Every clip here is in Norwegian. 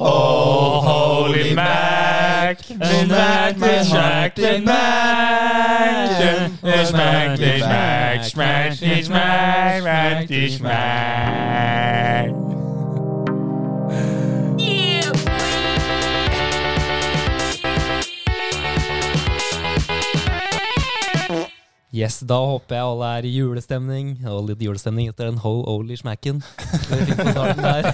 Oh, holy Mac, Din Mac, din Mac, din Mac. Din Mac, din Mac, smack, din smack, smack, din smack. Yes, da håper jeg alle er i julestemning. Og litt julestemning etter den ho holy smacken. Veldig fint på starten der.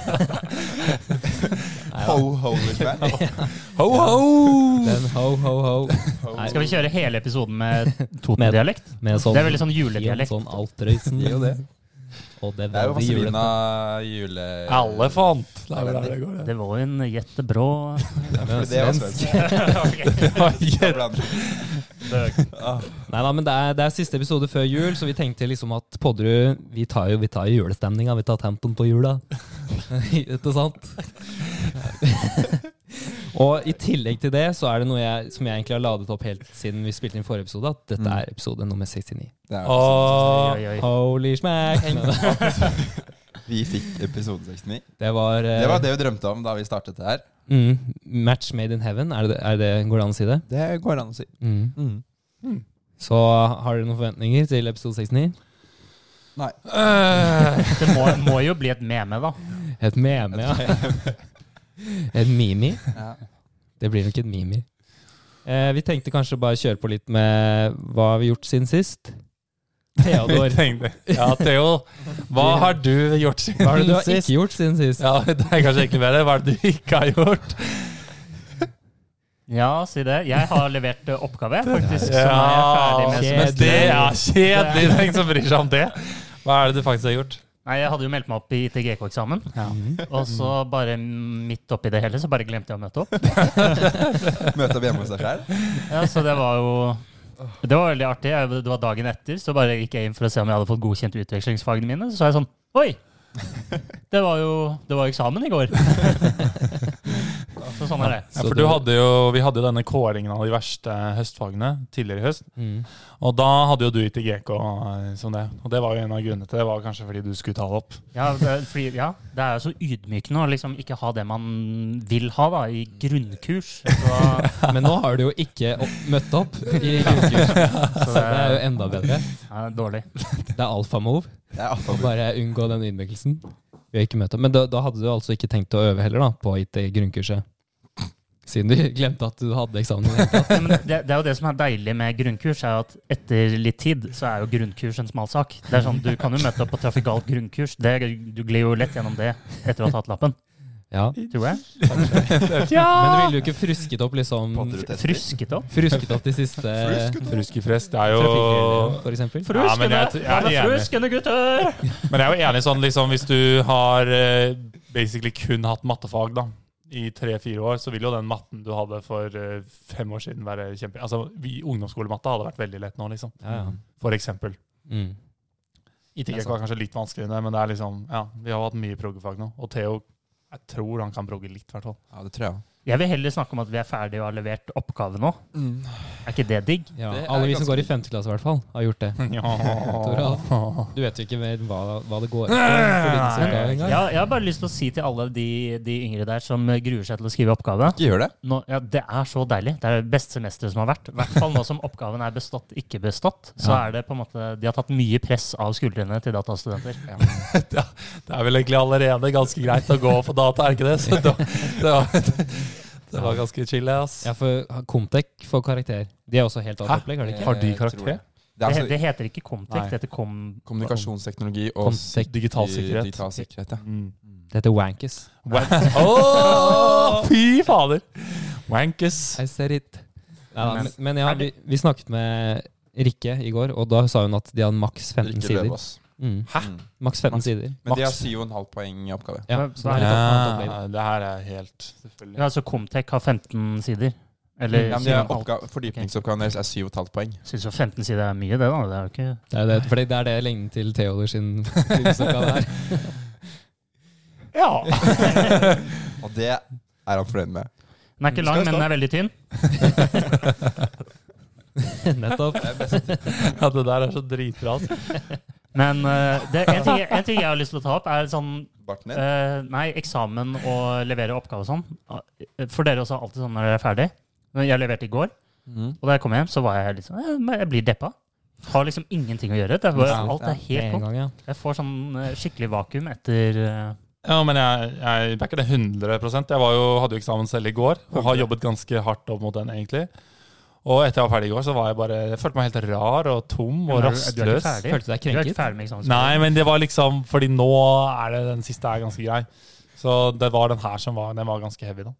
Ho, Oh, holy smack. Ho, ho! Den ho, ho, ho. Oh, Nei, Skal vi kjøre hele episoden med Toten-dialekt? Med sånn, Det er veldig sånn helt juledialekt. sånn Altrøysen. Det er jo det. Og det Det er jo veldig julete. Vazelina jule... Elefant. Det er vel der det går, det. Det var jo en jettebra For Det var svensk. Ja, Nei da, men det er, det er siste episode før jul, så vi tenkte liksom at Podderud Vi tar jo, vi tar jo julestemninga. Vi tar tempen på jula. Ikke sant? Og i tillegg til det så er det noe jeg, som jeg egentlig har ladet opp helt siden vi spilte inn forrige episode, at dette er episode nummer 69. Det er Og Oi, oi, oi. Holy smack! Men Vi fikk episode 69. Det var, eh, Det var det vi drømte om da vi startet det her. Mm, match made in heaven, er det, er det, går det an å si det? Det går an å si. Mm. Så har dere noen forventninger til episode 69? Nei. Eh. Det må, må jo bli et meme, da. Et meme, ja. Et mimi. Ja. Det blir nok et mimi. Eh, vi tenkte kanskje bare kjøre på litt med hva vi har gjort siden sist. Theodor, vi tenkte Ja, Theo, hva har du gjort siden hva er det du har sist? ikke gjort siden sist? Ja, det er kanskje egentlig bedre. Hva er det du ikke har gjort? Ja, si det. Jeg har levert eh, oppgave, faktisk. Som jeg er Ja, ferdig med kjedelig. men semesteret. det er kjedelig. Det er ingen som bryr seg om det. Hva er det du faktisk har gjort? Nei, jeg hadde jo meldt meg opp i ITGK-eksamen. Og så bare midt oppi det hele, så bare glemte jeg å møte opp. Møte opp hjemme hos deg sjøl. Ja, så det var jo Det var veldig artig. Jeg, det var dagen etter, så bare gikk jeg inn for å se om jeg hadde fått godkjent utvekslingsfagene mine. Så sa jeg sånn Oi! Det var jo det var eksamen i går. Så sånn er det. Ja, Så for du- du hadde jo, Vi hadde jo denne kåringen av de verste høstfagene tidligere i høst. Mm. Og da hadde jo du ikke GK eh, som det. Og det var jo en av grunnene til det. var kanskje fordi du skulle ta det opp. Ja, det, fordi, ja, det er jo så ydmykende å liksom ikke ha det man vil ha, da, i grunnkurs. Så, Men nå har du jo ikke opp, møtt opp i grunnkurs, så så det er jo det enda bedre. er dårlig. Det er alfamove. Det er alfabet. Bare unngå den ydmykelsen. Vi har ikke møtt opp. Men da, da hadde du altså ikke tenkt å øve heller, da, på IT-grunnkurset? Siden du glemte at du hadde eksamen. i det hele tatt. Ja, men det, det er jo det som er deilig med grunnkurs, er jo at etter litt tid så er jo grunnkurs en smal sak. Det er sånn, Du kan jo møte opp på trafikalt grunnkurs. Det, du glir jo lett gjennom det etter å ha tatt lappen, Ja. tror jeg. Men ville du ikke frusket opp liksom Potter og tester. Frusket opp. Frusket opp de siste Fruskefrest, det er trafikkreglene, jo for eksempel? Ja, men jeg- jeg er Alle enig. fruskende gutter! Men jeg er jo enig sånn, liksom, hvis du har eh, basically kun hatt mattefag da, i tre-fire år, så vil jo den matten du hadde for eh, fem år siden være kjempe... Altså, vi, ungdomsskolematta hadde vært veldig lett nå, liksom. Ja, ja. For eksempel. Mm. ITG Det er sant. var kanskje litt vanskeligere, men det er liksom, ja, vi har hatt mye proggefag nå. Og Theo, jeg tror han kan progge litt, hvertfall. Ja, det tror jeg. Jeg vil heller snakke om at vi er ferdige og har levert oppgave nå. Er ikke det digg? Ja, Det er alle vi som ganske går i femte klasse, i hvert fall, har gjort det. Ja. Du vet jo ikke mer hva, hva det går i. for lydsoppgave engang. Ja, jeg har bare lyst til å si til alle de, de yngre der som gruer seg til å skrive oppgave Ikke gjør det. nå, ja, Det er så deilig. Det er det beste semesteret som har vært. I hvert fall nå som oppgaven er bestått, ikke bestått. Så Ja. er det på en måte De har tatt mye press av skuldrene til datastudenter. Det er vel egentlig allerede ganske greit å gå på data, er det ikke det? Så da, det, var, det var ganske chill, ass. Ja, for Comtec får karakter. De er også helt Hæ? annet opplegg, har de ikke? Har de Jeg tror karakter? Det, Det er he- det altså heter ikke Comtec, Nei. det heter Kom... kommunikasjonsteknologi og Comtec. Digital sikkerhet. digital sikkerhet. Ja. Mm. Det heter Wankes. Åh, fy fader! Wankers. I said it. Neida, Men- men, men ja, vi, vi snakket med Rikke i går, og da sa hun at de hadde maks 15 Ikke sider. Løvaas. Mm. Hæ? Mm. Maks 15 sider. Men de har Maks. 7,5 poeng i oppgave. Ja, Hva- så hva er det er litt annet opplegg. Ja, det her er helt selvfølgelig. Ja, altså Comtec har 15 sider. Eller Ja, men de har oppga- Fordypningsoppgaven deres er 7,5 poeng. Syns jo 15 sider er mye, det, da. Det er jo ikke Det er det, fordi det er det lengden til Theodor sin lydsoppgave er. Ja. Og det er han fornøyd med. Den er ikke lang, men den er veldig tynn. Nettopp. ja, altså. det der er så dritbra. ass. Men eh, det, en, ting, en ting jeg har lyst til å ta opp, er sånn Barten din? Eh, nei, eksamen og levere oppgave og sånn. For dere også alltid sånn når dere er ferdig. Men Jeg leverte i går, Mhm. og da jeg kom hjem, så var jeg litt sånn eh, men Jeg blir deppa. Har liksom ingenting å gjøre. Det er bare, Ja, alt ja, er helt en tomt. gang, ja. Jeg får sånn eh, skikkelig vakuum etter eh, Ja, men jeg, jeg det er ikke det 100 Jeg var jo, hadde jo eksamen selv i går og har jobbet ganske hardt opp mot den, egentlig. Og etter jeg var ferdig i går, så var jeg bare Jeg følte meg helt rar og tom og men er du- du er ikke rastløs. ferdig. Følte du deg Du er ikke ferdig krenket? altså. med eksamen. Nei, men det var liksom Fordi nå er det den siste er ganske grei. Så det var den her som var Den var ganske heavy, da.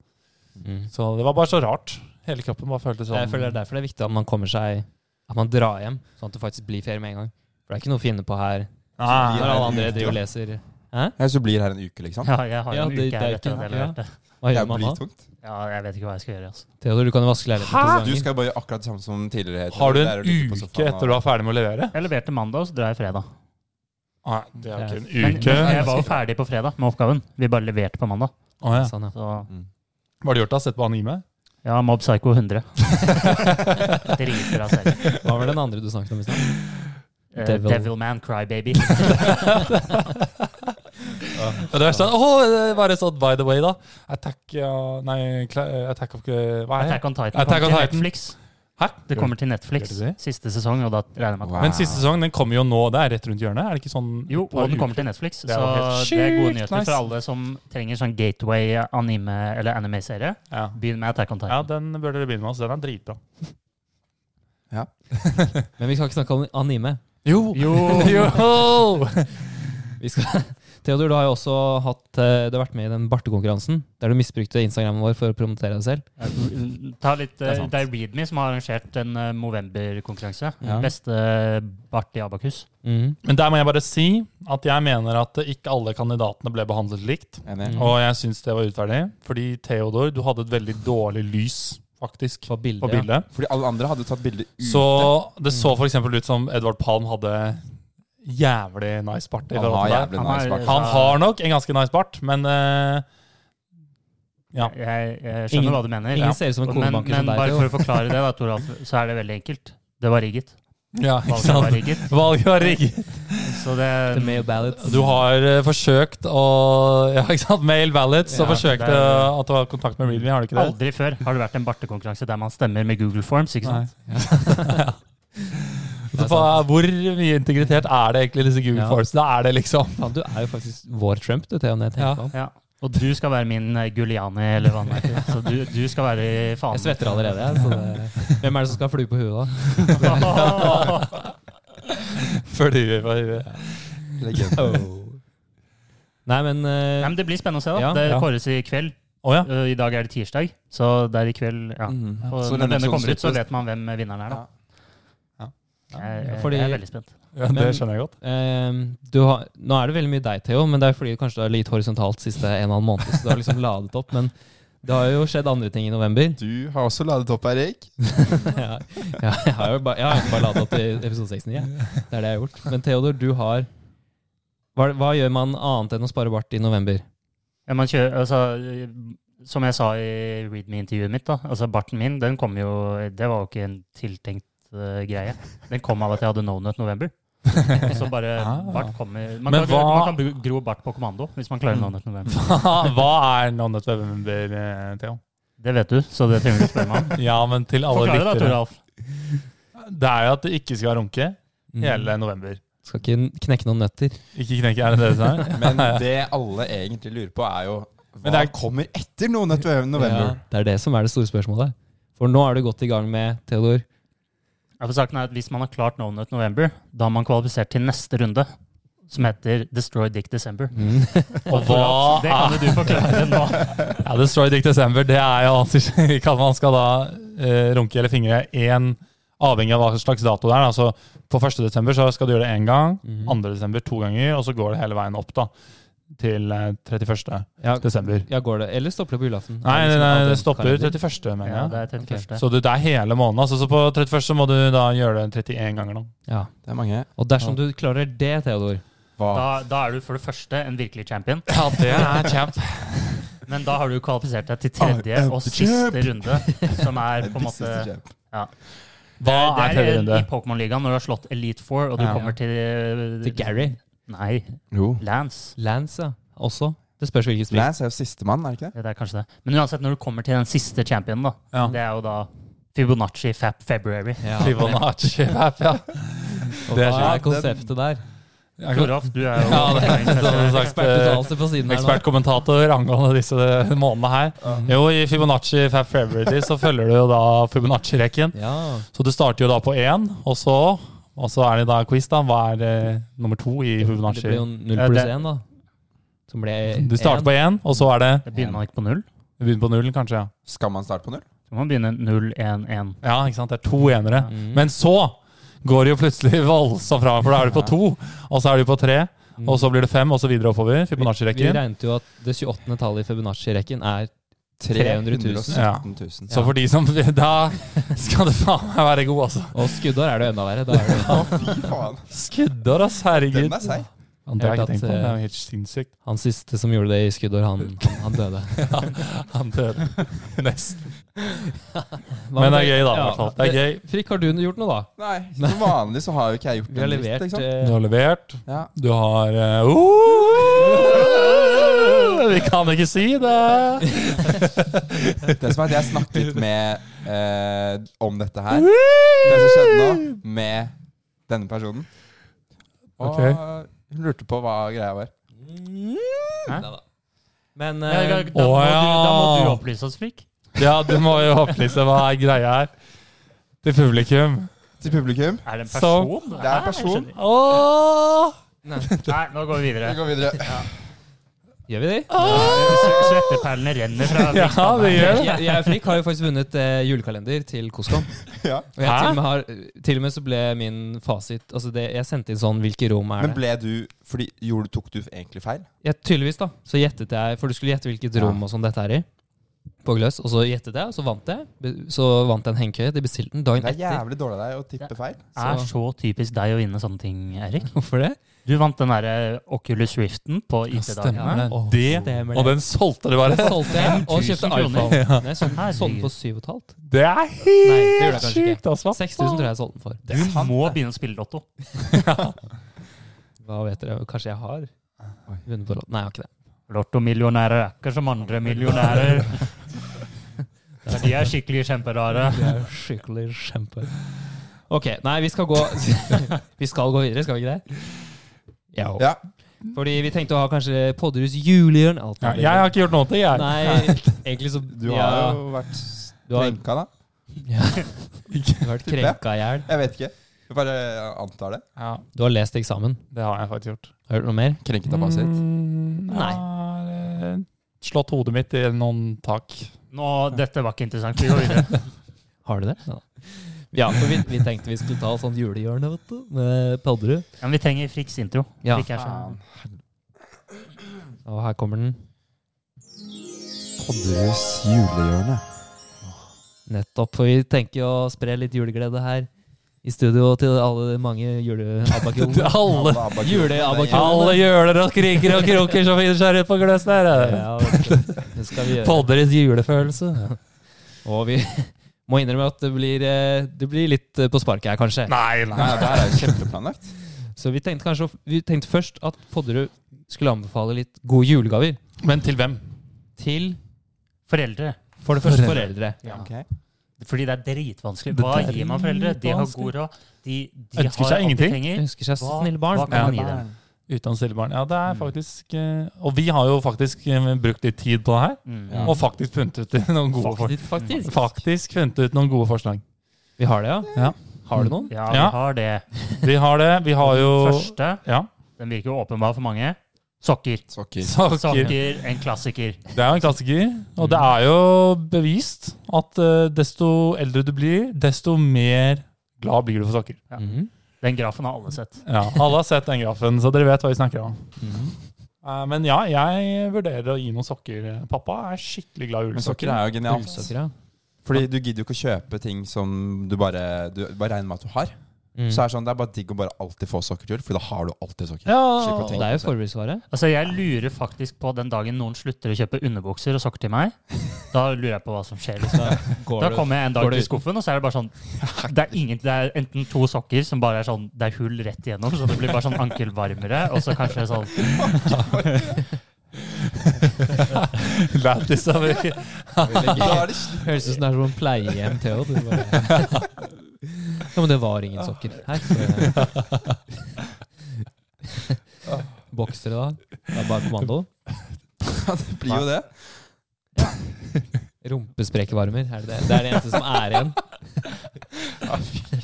Mm. Så det var bare så rart. Hele kroppen bare føltes sånn Jeg føler det er derfor det er viktig at man kommer seg At man drar hjem, sånn at det faktisk blir ferie med en gang. For det er ikke noe å finne på her Nei, når alle andre det er driver og leser. Jeg så blir her en uke, liksom. Ja, jeg har Ja, en det- det uke er her etter ikke- at jeg ja. leverte. Hva Det gjør er man da? drittungt. Ja, jeg vet ikke hva jeg skal gjøre. Altså. Theodor, du kan jo vaske leiligheten Du to ganger. skal bare gjøre akkurat det samme som tidligere. Har du Det er å en ligge på uke sofaen og- etter du er ferdig med å levere? Jeg leverte mandag, og så drar jeg fredag. Nei, det er jo ikke Men, en uke. men jeg var jo ferdig på fredag med oppgaven. Vi bare leverte på mandag. Å, ja. Sånn, ja. Så Mm. Hva har du gjort da? Sett på anime? ja, Mob Psycho 100. Dritbra serie. Hva var den andre du snakket om i stad? Eh, Devil. Devilman Crybaby. Og det verste er oh, bare sånn by the way, da. Attack ja, Nei, Cla- Attack of Hva er det? Attack on Titan Ah, Attack kommer on til Titan. Netflix. Hæ? Det kommer til Netflix Gjør det det? siste sesong, og da regner jeg med at Wow. Men siste sesong den kommer jo nå. Det er rett rundt hjørnet? Er det ikke sånn Jo, par og den kommer uker? til Netflix, så Det er jo helt det er gode sjukt nyheter nice. for alle som trenger sånn gateway anime- eller anime-serie. Ja. Begynn med Attack on ja, Titan. den bør dere begynne med. Altså. Den er dritbra. Men vi skal ikke snakke om anime. Jo! Jo! Vi skal... Theodor, du har jo også hatt, eh, du har vært med i den bartekonkurransen, der du misbrukte Instagramen vår for å promotere deg selv. Ta litt, er eh, sant. det er ReadMe som har arrangert en eh, Movember-konkurranse. Ja. Beste eh, bart i Abakus. Mhm. Men der må jeg bare si at jeg mener at ikke alle kandidatene ble behandlet likt. Enig. Mm. Og jeg syns det var urettferdig. Fordi Theodor, du hadde et veldig dårlig lys, faktisk, På bildet. på bildet. Fordi alle andre hadde tatt bilde ute. Så det så f.eks. ut som Edvard Palm hadde jævlig nice bart. i Han forhold har til deg. jævlig Han nice har- bart. Han har nok en ganske nice bart, men eh, Ja. Jeg, jeg skjønner Ingen- hva du mener. Ingen Ja. ser ut som en Men, konebanker men som deg. bare Theo. for å forklare det, da, Toralf, så er det veldig enkelt. Det var rigget. ja, ikke Valget var sant? rigget. Valget var rigget. Så det, The male ballots. Du har eh, forsøkt å Ja, ikke sant? Mail ballots og Ja, forsøkte det er- at du har kontakt med Readme, har du ikke det? aldri før har det vært en bartekonkurranse der man stemmer med Google Forms. ikke sant? Så fa- hvor mye integritet er det egentlig i disse Google Ja. Forms? Da er det liksom Faen, du er jo faktisk vår Trump, du, Theo. når Jeg, Ja. tenker på ham. Ja. Og du skal være min eh, Guliani, eller hva den heter. Så du, du skal være i jeg fanen. svetter allerede. jeg, Så det... Hvem er det som skal ha flue på huet da? Før du ja. Legende. Oh. Nei, men, eh, Nei, men det blir spennende å se. da. Ja, det ja. kåres i kveld. Å ja. Eh, I dag er det tirsdag, så det er i kveld Mm. ja. Mhm. Og Så Når denne denne episoden kommer ut, så slippes. vet man hvem vinneren er. da. Ja. Ja. Jeg, jeg, Fordi- jeg er veldig spent. ja, det Men- skjønner jeg godt. Ehm, du har, nå er det veldig mye deg, Theo, men det er fordi kanskje det er litt horisontalt siste en og en halv måned. Så du har liksom ladet opp, men det har jo skjedd andre ting i november. Du har også ladet opp, Erik. ja, ja, jeg har jo bare, jeg har egentlig bare ladet opp i episode 69. jeg. Det er det jeg har gjort. Men Theodor, du har hva, hva gjør man annet enn å spare bart i november? Ja, man kjører, altså, som jeg sa i readme-intervjuet mitt, da, altså barten min, den kom jo Det var jo ikke en tiltenkt eh, greie. Den kom av at jeg hadde Nonut November. Så bare Ah. bart kommer man Men kan, gro- hva- man Mm. kan gro bart på kommando hvis man klarer Nonut November. Hva er Nonnet Webber, eh, Theo? Det vet du, så det trenger du ikke spørre meg om. Ja, men til alle Forklare da, lyttere. Toralf. Det er jo at det ikke skal runke Mm. hele november. Skal ikke kn- knekke noen nøtter. Ikke knekke, er det det som er? Men det alle egentlig lurer på, er jo hva Men det er- kommer etter noen etter november? Ja, det er det som er det store spørsmålet. For nå er du godt i gang med, Theodor. Ja, for saken er at Hvis man har klart Nonut November, da har man kvalifisert til neste runde, som heter Destroy Dick December. Mhm. Og Toralf, Det hva kan jo du forklare nå. Ja, Destroy Dick December, det er jo alltid at man skal da eh, runke eller fingre én, avhengig av hva slags dato det er. da. Så på 1. desember så skal du gjøre det én gang, 2. desember to ganger, og så går det hele veien opp da, til eh, 31. Ja, desember. ja, går det? Eller stopper det på julaften? Nei, Er liksom nei, nei, alltid det en stopper kalender? 31., mener Ja, jeg. det er 31. Så det, det er hele måneden. Altså, så på 31. så må du da gjøre det 31 ganger. da. Ja. Det er mange. Og dersom du klarer det, Theodor Hva? Da, da er du for det første en virkelig champion. Ja, det er champ. Men da har du kvalifisert deg til I tredje am og the siste champ. runde, som er på en måte Siste kjemp. Hva er Det tredje runde? i Pokémon-ligaen når du har slått Elite Four, og du Ja. kommer til til Gary. Nei, Jo. Lance. Lance, ja. også. Det spørs hvilket spill. Lance er jo sistemann, er det ikke det? Ja, det er kanskje det. Men uansett, når du kommer til den siste championen, da, Ja. det er jo da Fibonacci Fap February. Ja. Fibonacci-app, ja. Og Det er hva er skikkelig. konseptet der? Toralf, du er jo Ja, det er som sagt, eh, Ekspertuttalelse på siden her. nå. Ekspertkommentator angående disse månedene her. Jo, i Fibonacci Fab February så følger du jo da Fibonacci-rekken. Ja. Så du starter jo da på én, og så og så er det da quiz, da. Hva er eh, nummer to i Det blir Fibonacci? jo 0 Ja, pluss det- 1, da. Som blir Du starter en. på én, og så er det Det begynner man ikke på null. Vi begynner på nullen, kanskje. Ja, Skal man starte på null? Så må man begynne 0-1-1. ja ikke sant? Det er to enere. Mm. Men så går det jo plutselig voldsomt fra, for da er du på to, og så er du på tre, og så blir det fem, og så videre oppover. Vi Fibonacci-rekken. regnet jo at det 28. tallet i Fibonacci-rekken er 300 000. 317 000. Så for de som Da skal du faen meg være god, altså. Og skuddår er det jo enda verre. Da er det Å, fy faen. Skuddår, ass. Herregud. Den er seig. Ja, det har jeg Hørte ikke tenkt at, på. Det eh, er jo helt sinnssykt. Han siste som gjorde det i skuddår, han, han, han døde. Han døde. Nesten. Hva Men med det er deg? gøy, da. i Ja. hvert fall. Det er gøy. Frikk, har du gjort noe, da? Nei, som vanlig så har jo ikke jeg gjort Vi har en dritt, levert ikke sant? Du eh, har levert. Ja. Du har eh, oh! Vi kan ikke si det! Det som er at jeg snakket med eh, om dette her, det som skjedde nå, med denne personen. Og Ok. hun lurte på hva greia var. Hæ? Mm. Neida. Men Ja, da, eh, da, må du, da må Å, du ja. opplyse oss, Frik. Ja, du må jo opplyse hva er greia her. Til publikum. Til publikum. Er det en Så- person? Det er en person. Nei, jeg skjønner Åh! ikke. Nei, nå går vi videre. Vi går videre. gjør vi det? Sv- Svetteperlene renner fra Ja, det gjør det. Jeg, jeg og Frikk har jo faktisk vunnet eh, julekalender til Koskom. Ja. Og jeg Hæ? til og, med har, til og med så ble min fasit altså det, Jeg sendte inn sånn Hvilke rom er Men det? ble du fordi, gjorde, Tok du egentlig feil? Jeg, tydeligvis, da. Så gjettet jeg For du skulle gjette hvilket Ja. rom og sånn dette er i. På gløs. Og så gjettet jeg, og så vant jeg. Be- Så vant jeg en hengekøye. De bestilte den dagen Det er etter. jævlig dårlig av deg å tippe feil. Det er så typisk deg å vinne sånne ting, Erik. Hvorfor det? Du vant den derre Oculus Riften på IT-dagen. Stemmer det. Åh, det. stemmer Og den solgte du Den bare. solgte jeg, og 5000 kjøpte kroner. iPhone. Ja. Nei, sånn, Herregud. sånn for 7,5. Det er gjør helt jeg kanskje sjukt, altså. ass. Hva 6000 tror jeg jeg solgte den for. Du må begynne å spille Lotto. Hva vet dere? Kanskje jeg har vunnet på lott? Nei, jeg har ikke det. Lottomillionærer er ikke som andre millionærer. For de er skikkelig kjemperare. Det er jo skikkelig kjempe. Ok, nei, vi skal gå Vi skal gå videre, skal vi ikke det? Ja. Ja. Fordi vi tenkte å ha kanskje Podderus julehjørn. alt Ja, mulig. jeg har ikke gjort noe til, jeg. Nei, egentlig så Du har jo vært Du har- krenka, da. ja, Du har vært krenka i hjel. Jeg vet ikke. Jeg bare antar det. Ja, Du har lest eksamen. det har jeg faktisk gjort. Har du hørt noe mer? Krenket av fasit. Mm, Nei. jeg har, eh, Slått hodet mitt i noen tak. Nå, dette var ikke interessant. Vi går videre. Har du det? Ja, ja for vi, vi tenkte vi skulle ta sånn julehjørne, vet du, med Podderud. Ja, men vi trenger Friks intro. Ja. Frik er så- Faen. Og her kommer den. Podderus julehjørne. Nettopp. For vi tenker å spre litt juleglede her i studio til alle de mange juleabakjonene. Alle, Abba- Juleabakjon. alle gjøler og skriker og kroker som finner seg rundt på gløs der. Ja, vet du. det skal vi gjøre. Podderes julefølelse. Og vi må innrømme at det blir, eh, det blir litt eh, på sparket her, kanskje. Nei, Nei, det her er jo kjempeplanlagt. Så vi tenkte kanskje å- Vi tenkte først at Podderud skulle anbefale litt gode julegaver Men til hvem? til Foreldre. for det første foreldre. Ja. Ok. Fordi det er dritvanskelig. Det Hva er gir man foreldre? De har god råd. De, de Ønsker har seg alt de ingenting. Jeg trenger. Ønsker seg så Hva- snille barn. hva kan man gi dem? Barn. Uten stillebarn. Ja, det er faktisk eh, Og vi har jo faktisk eh, brukt litt tid på det her. Mm. Og faktisk funnet ut noen gode forslag. Faktisk, faktisk. Faktisk funnet ut noen gode forslag. Vi har det, ja. Ja. Har du noen? Ja, vi Ja. har det. Vi har det. Vi har jo Første, Ja. den virker jo åpenbar for mange. Sokker. Sokker. Saker. Sokker, en klassiker. Det er jo en klassiker, og det er jo bevist at eh, desto eldre du blir, desto mer glad blir du for sokker. Ja. Mhm. Den grafen har alle sett. Ja, Alle har sett den grafen, så dere vet hva vi snakker om. Mhm. Eh, Men ja, jeg vurderer å gi noen sokker. Pappa er skikkelig glad i Men sokker julesokker. er jo genialt. Ullsokker, ja. Fordi du gidder jo ikke å kjøpe ting som du bare, du bare regner med at du har. Mm. Så er det sånn, det er bare digg å bare alltid få sokker til jul, for da har du alltid sokker. Slipp å Ja, tenke. Det er jo forberedelsesvare. Altså, jeg lurer faktisk på den dagen noen slutter å kjøpe underbukser og sokker til meg. Da lurer jeg på hva som skjer. Liksom. Da kommer jeg en dag går det til ut? skuffen, og så er det bare sånn Det er, ingen, det er enten to sokker som bare er sånn Det er hull rett igjennom, så det blir bare sånn ankelvarmere, og så kanskje sånn Lættis av Da er det sl- Høres ut som det er sånn pleiehjem, Theo. Du bare... Ja, men det var ingen sokker her. Så... Bokser da? Det er bare kommando. Ja, det blir jo det. Rumpesprekevarmer. Er det, det? det er det eneste som er igjen.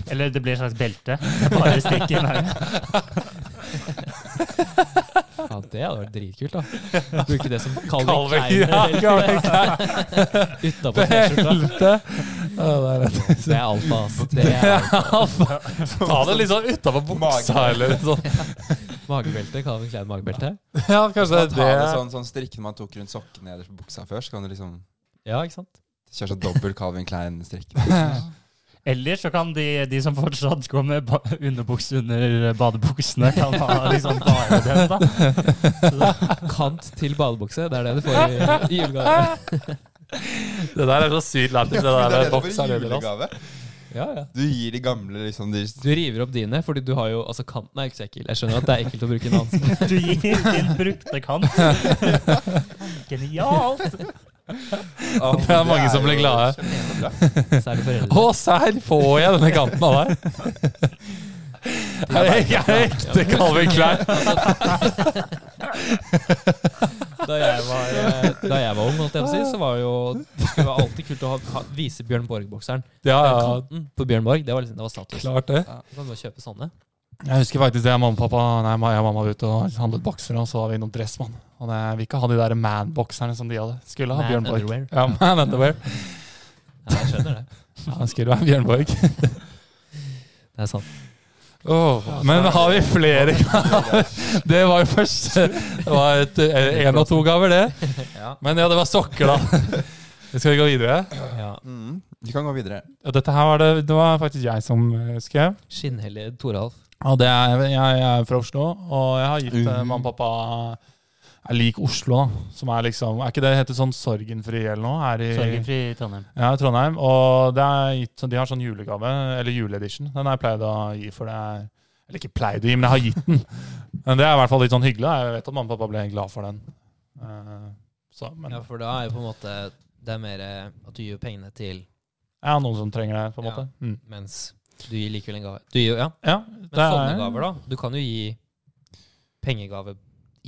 Eller det blir et slags belte. Bare stikk inn her. Ja, det hadde vært dritkult, da. Bruke det som Calvin Calvin, ja, Calvin Klein. Utapå T-skjorta. Belte! Ja, det er rett. Det er alfa, ass. Det er Ta det litt sånn utafor buksa, Magen. eller sånn. magebelte. Calvin Klein magebelte. Ja, kanskje Man det tar det sånn, sånn strikken man tok rundt sokken nederst på buksa før, så kan du liksom Ja, ikke sant? kjøre sånn dobbel Calvin Klein-strikk. Ellers så kan de, de som fortsatt går med ba underbukse under badebuksene, kan ha liksom bare den, da. Kant til badebukse. Det er det du får i, i julegave. Det der er så sykt lættis, det Det der er for boksa. eller noe. julegave. Ja, ja. Du gir de gamle liksom de Du river opp dine, fordi du har jo altså Kanten er jo ikke så ekkel. Jeg skjønner at det er ekkelt å bruke en annen. Du gir din brukte kant. Genialt! Å, Det er mange som blir jo glade. kjempebra. Særlig Å, foreldre. serr! Får jeg denne kanten av deg? Er det ikke ekte Calvin Klein? Da jeg var, eh, da jeg var ung, holdt jeg på å si, så var jo det skulle være alltid kult å ha, ha, vise Bjørn Borg-bokseren. Ja, Den ja. Kanten på Bjørn Borg, det var, liksom, det var status. Klart det. Du kan bare kjøpe sånne. Jeg husker faktisk det. Mamma og pappa Nei, jeg og mamma var ute og handlet boksere, og så var vi innom Dressmann. Og det, vi ikke ha de der man-bokserne som de hadde. Skulle ha Man Bjørn Borg. underwear. Ja, man underwear. Ja, jeg skjønner det. Ja, han skulle være Bjørn Borg. Det er sant. Åh, men har vi flere gaver? Det var jo først Det var et- eh, en og to gaver, det. Ja. Men ja, det var sokker, da. Skal vi gå videre? Ja. Mm, du kan gå videre. Ja, Dette her var det, det var faktisk jeg som eh, skrev. Skinnhellige Toralf. Og det er, jeg, jeg er fra Oslo, og jeg har gitt Mhm. eh, mamma og pappa Jeg liker Oslo, da. Som er liksom Er ikke det det heter sånn Sorgenfri eller noe? Her i, Sorgenfri Trondheim. Ja, i Trondheim. Og det er gitt, sånn- de har sånn julegave, eller juleedition. Den har jeg pleid å gi, for det er Eller ikke pleid å gi, men jeg har gitt den. Men det er i hvert fall litt sånn hyggelig. da. Jeg vet at mamma og pappa ble glad for den. Eh, Så, men Ja, ja, for da er jo på en måte Det er mer eh, at du gir pengene til noen som trenger det, på en Ja. måte. Mm. mens du gir likevel en gave. Du gir, jo- ja. Ja, Men sånne gaver, da. Du kan jo gi pengegave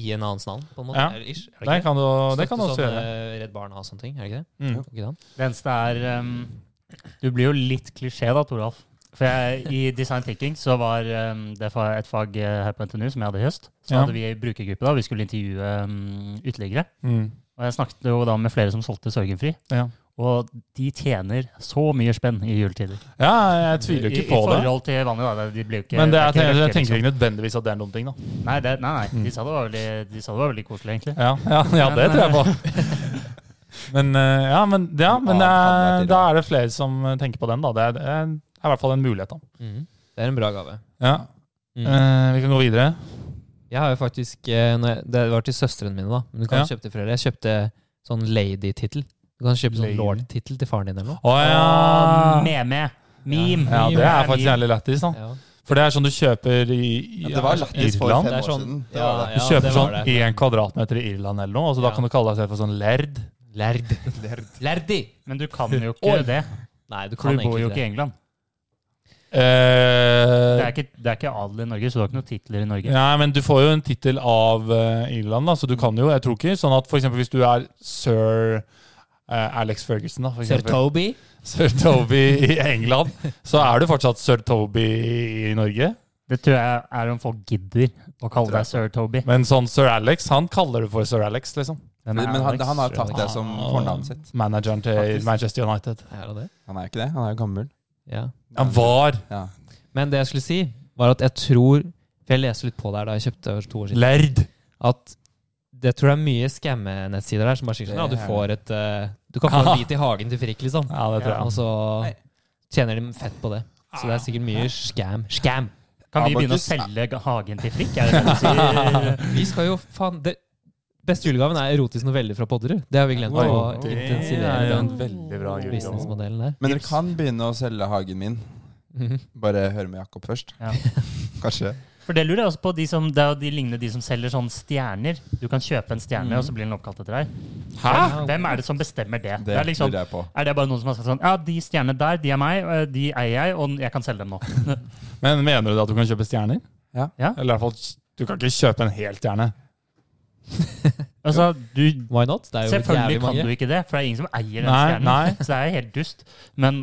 i en annens navn, på en måte. Ja. Er det ish? Er det Det ikke det? kan du, det kan du Støtte også sånne gjøre. Redd Barna og sånne ting, er det ikke det? Mm. Går ikke det an? Det eneste er um, Du blir jo litt klisjé da, Toralf. For jeg, i design thinking så var um, det fa- et fag eh, her på NTNU som jeg hadde i høst. Så Ja. hadde vi en brukergruppe da, vi skulle intervjue um, uteliggere. Mm. Og jeg snakket jo da med flere som solgte Sorgenfri. Ja. Og de tjener så mye spenn i juletider. ja, jeg tviler I, ikke i på det. forhold til vanlig, da. De blir jo ikke, Men det er, ikke jeg, røkke, jeg tenker Mm. liksom. ikke nødvendigvis at det er en dum ting, da. Nei, det, nei, nei. De sa det var veldig, de sa det var veldig koselig, egentlig. Ja, ja, ja det tror jeg på. Men eh, ja, men, ja, men det er, da er det flere som eh, tenker på den, da. Det er, det er i hvert fall en mulighet, da. Mhm. Det er en bra gave. Ja. Mm. Eh, vi kan gå videre. Jeg har jo faktisk eh, når jeg, Det var til søstrene mine, da. Men du kan Ja. kjøpe til flere. Jeg kjøpte sånn lady-tittel. Du kan kjøpe Lady. sånn lord-tittel til faren din eller noe. Å Ah, ja. Meme. Meme. ja! Det er faktisk meme. jævlig lættis, da. Ja. For det er sånn du kjøper i, i Ja, det var lættis for Irland. Det fem er år sånn- siden. Det ja, var det. Du ja, kjøper det var sånn det. én kvadratmeter i Irland eller noe, og så da Ja. kan du kalle deg selv for sånn lerd. Lærd. Lærdi! Men du kan jo Oi. ikke det. Nei, du For kan du bor jo ikke i egentlig ikke det. England. Det Eh, er, ikke, det er ikke adel i Norge, så du har ikke noen titler i Norge. Nei, men du får jo en tittel av eh, Irland, da, så du kan jo Jeg tror ikke sånn at for eksempel hvis du er sir eh, Alex Ferguson, da, for Sir eksempel. Toby. Sir Toby i England, så er du fortsatt sir Toby i Norge. Det tror jeg er om folk gidder å kalle deg sir Toby. Men sånn sir Alex, han kaller du for sir Alex, liksom. Hvem er Men han, Alex? han har jo tatt det som Ah. fornavnet sitt. Manageren til Faktisk. Manchester United. Er det det? Han er jo ikke det. Han er jo gammel. Ja. Han var Ja. Men det jeg skulle si, var at jeg tror For jeg leste litt på det her da jeg kjøpte for to år siden. lærd. At det tror jeg er mye skamme-nettsider der som bare sier sånn Ja, du Det er får et eh, Du kan få en bit i hagen til frikk, liksom. Ja, det tror Og jeg. så Nei. tjener de fett på det. Så det er sikkert Ah. mye scam. Scam! Kan vi begynne å Abacus. selge ga- hagen til Frikk? Er det det du sier? Vi skal jo faen det, Beste julegaven er erotisk novelle fra Podderud. Det har vi glemt å Wow. Det intensivere. er jo en den veldig bra julegave. businessmodellen der. Men dere kan begynne å selge hagen min. Mhm. Bare høre med Jakob først. Ja. Kanskje. For det lurer jeg også på. De som, det er jo de lignende de som selger sånne stjerner. Du kan kjøpe en stjerne, og så blir den oppkalt etter deg. Hvem- Hvem er det som bestemmer det? Det er liksom, lurer jeg på. er det bare noen som har sagt sånn Ja, de stjernene der, de er meg, og, eh, de eier jeg, og jeg kan selge dem nå. Men mener du da at du kan kjøpe stjerner? Ja. Ja. Eller i hvert fall, du kan ikke kjøpe en hel stjerne. Altså, du Why not? Det er jo Selvfølgelig jævlig kan mange. du ikke det, for det er ingen som eier den Nei, stjernen. nei. Så det er helt dust. Men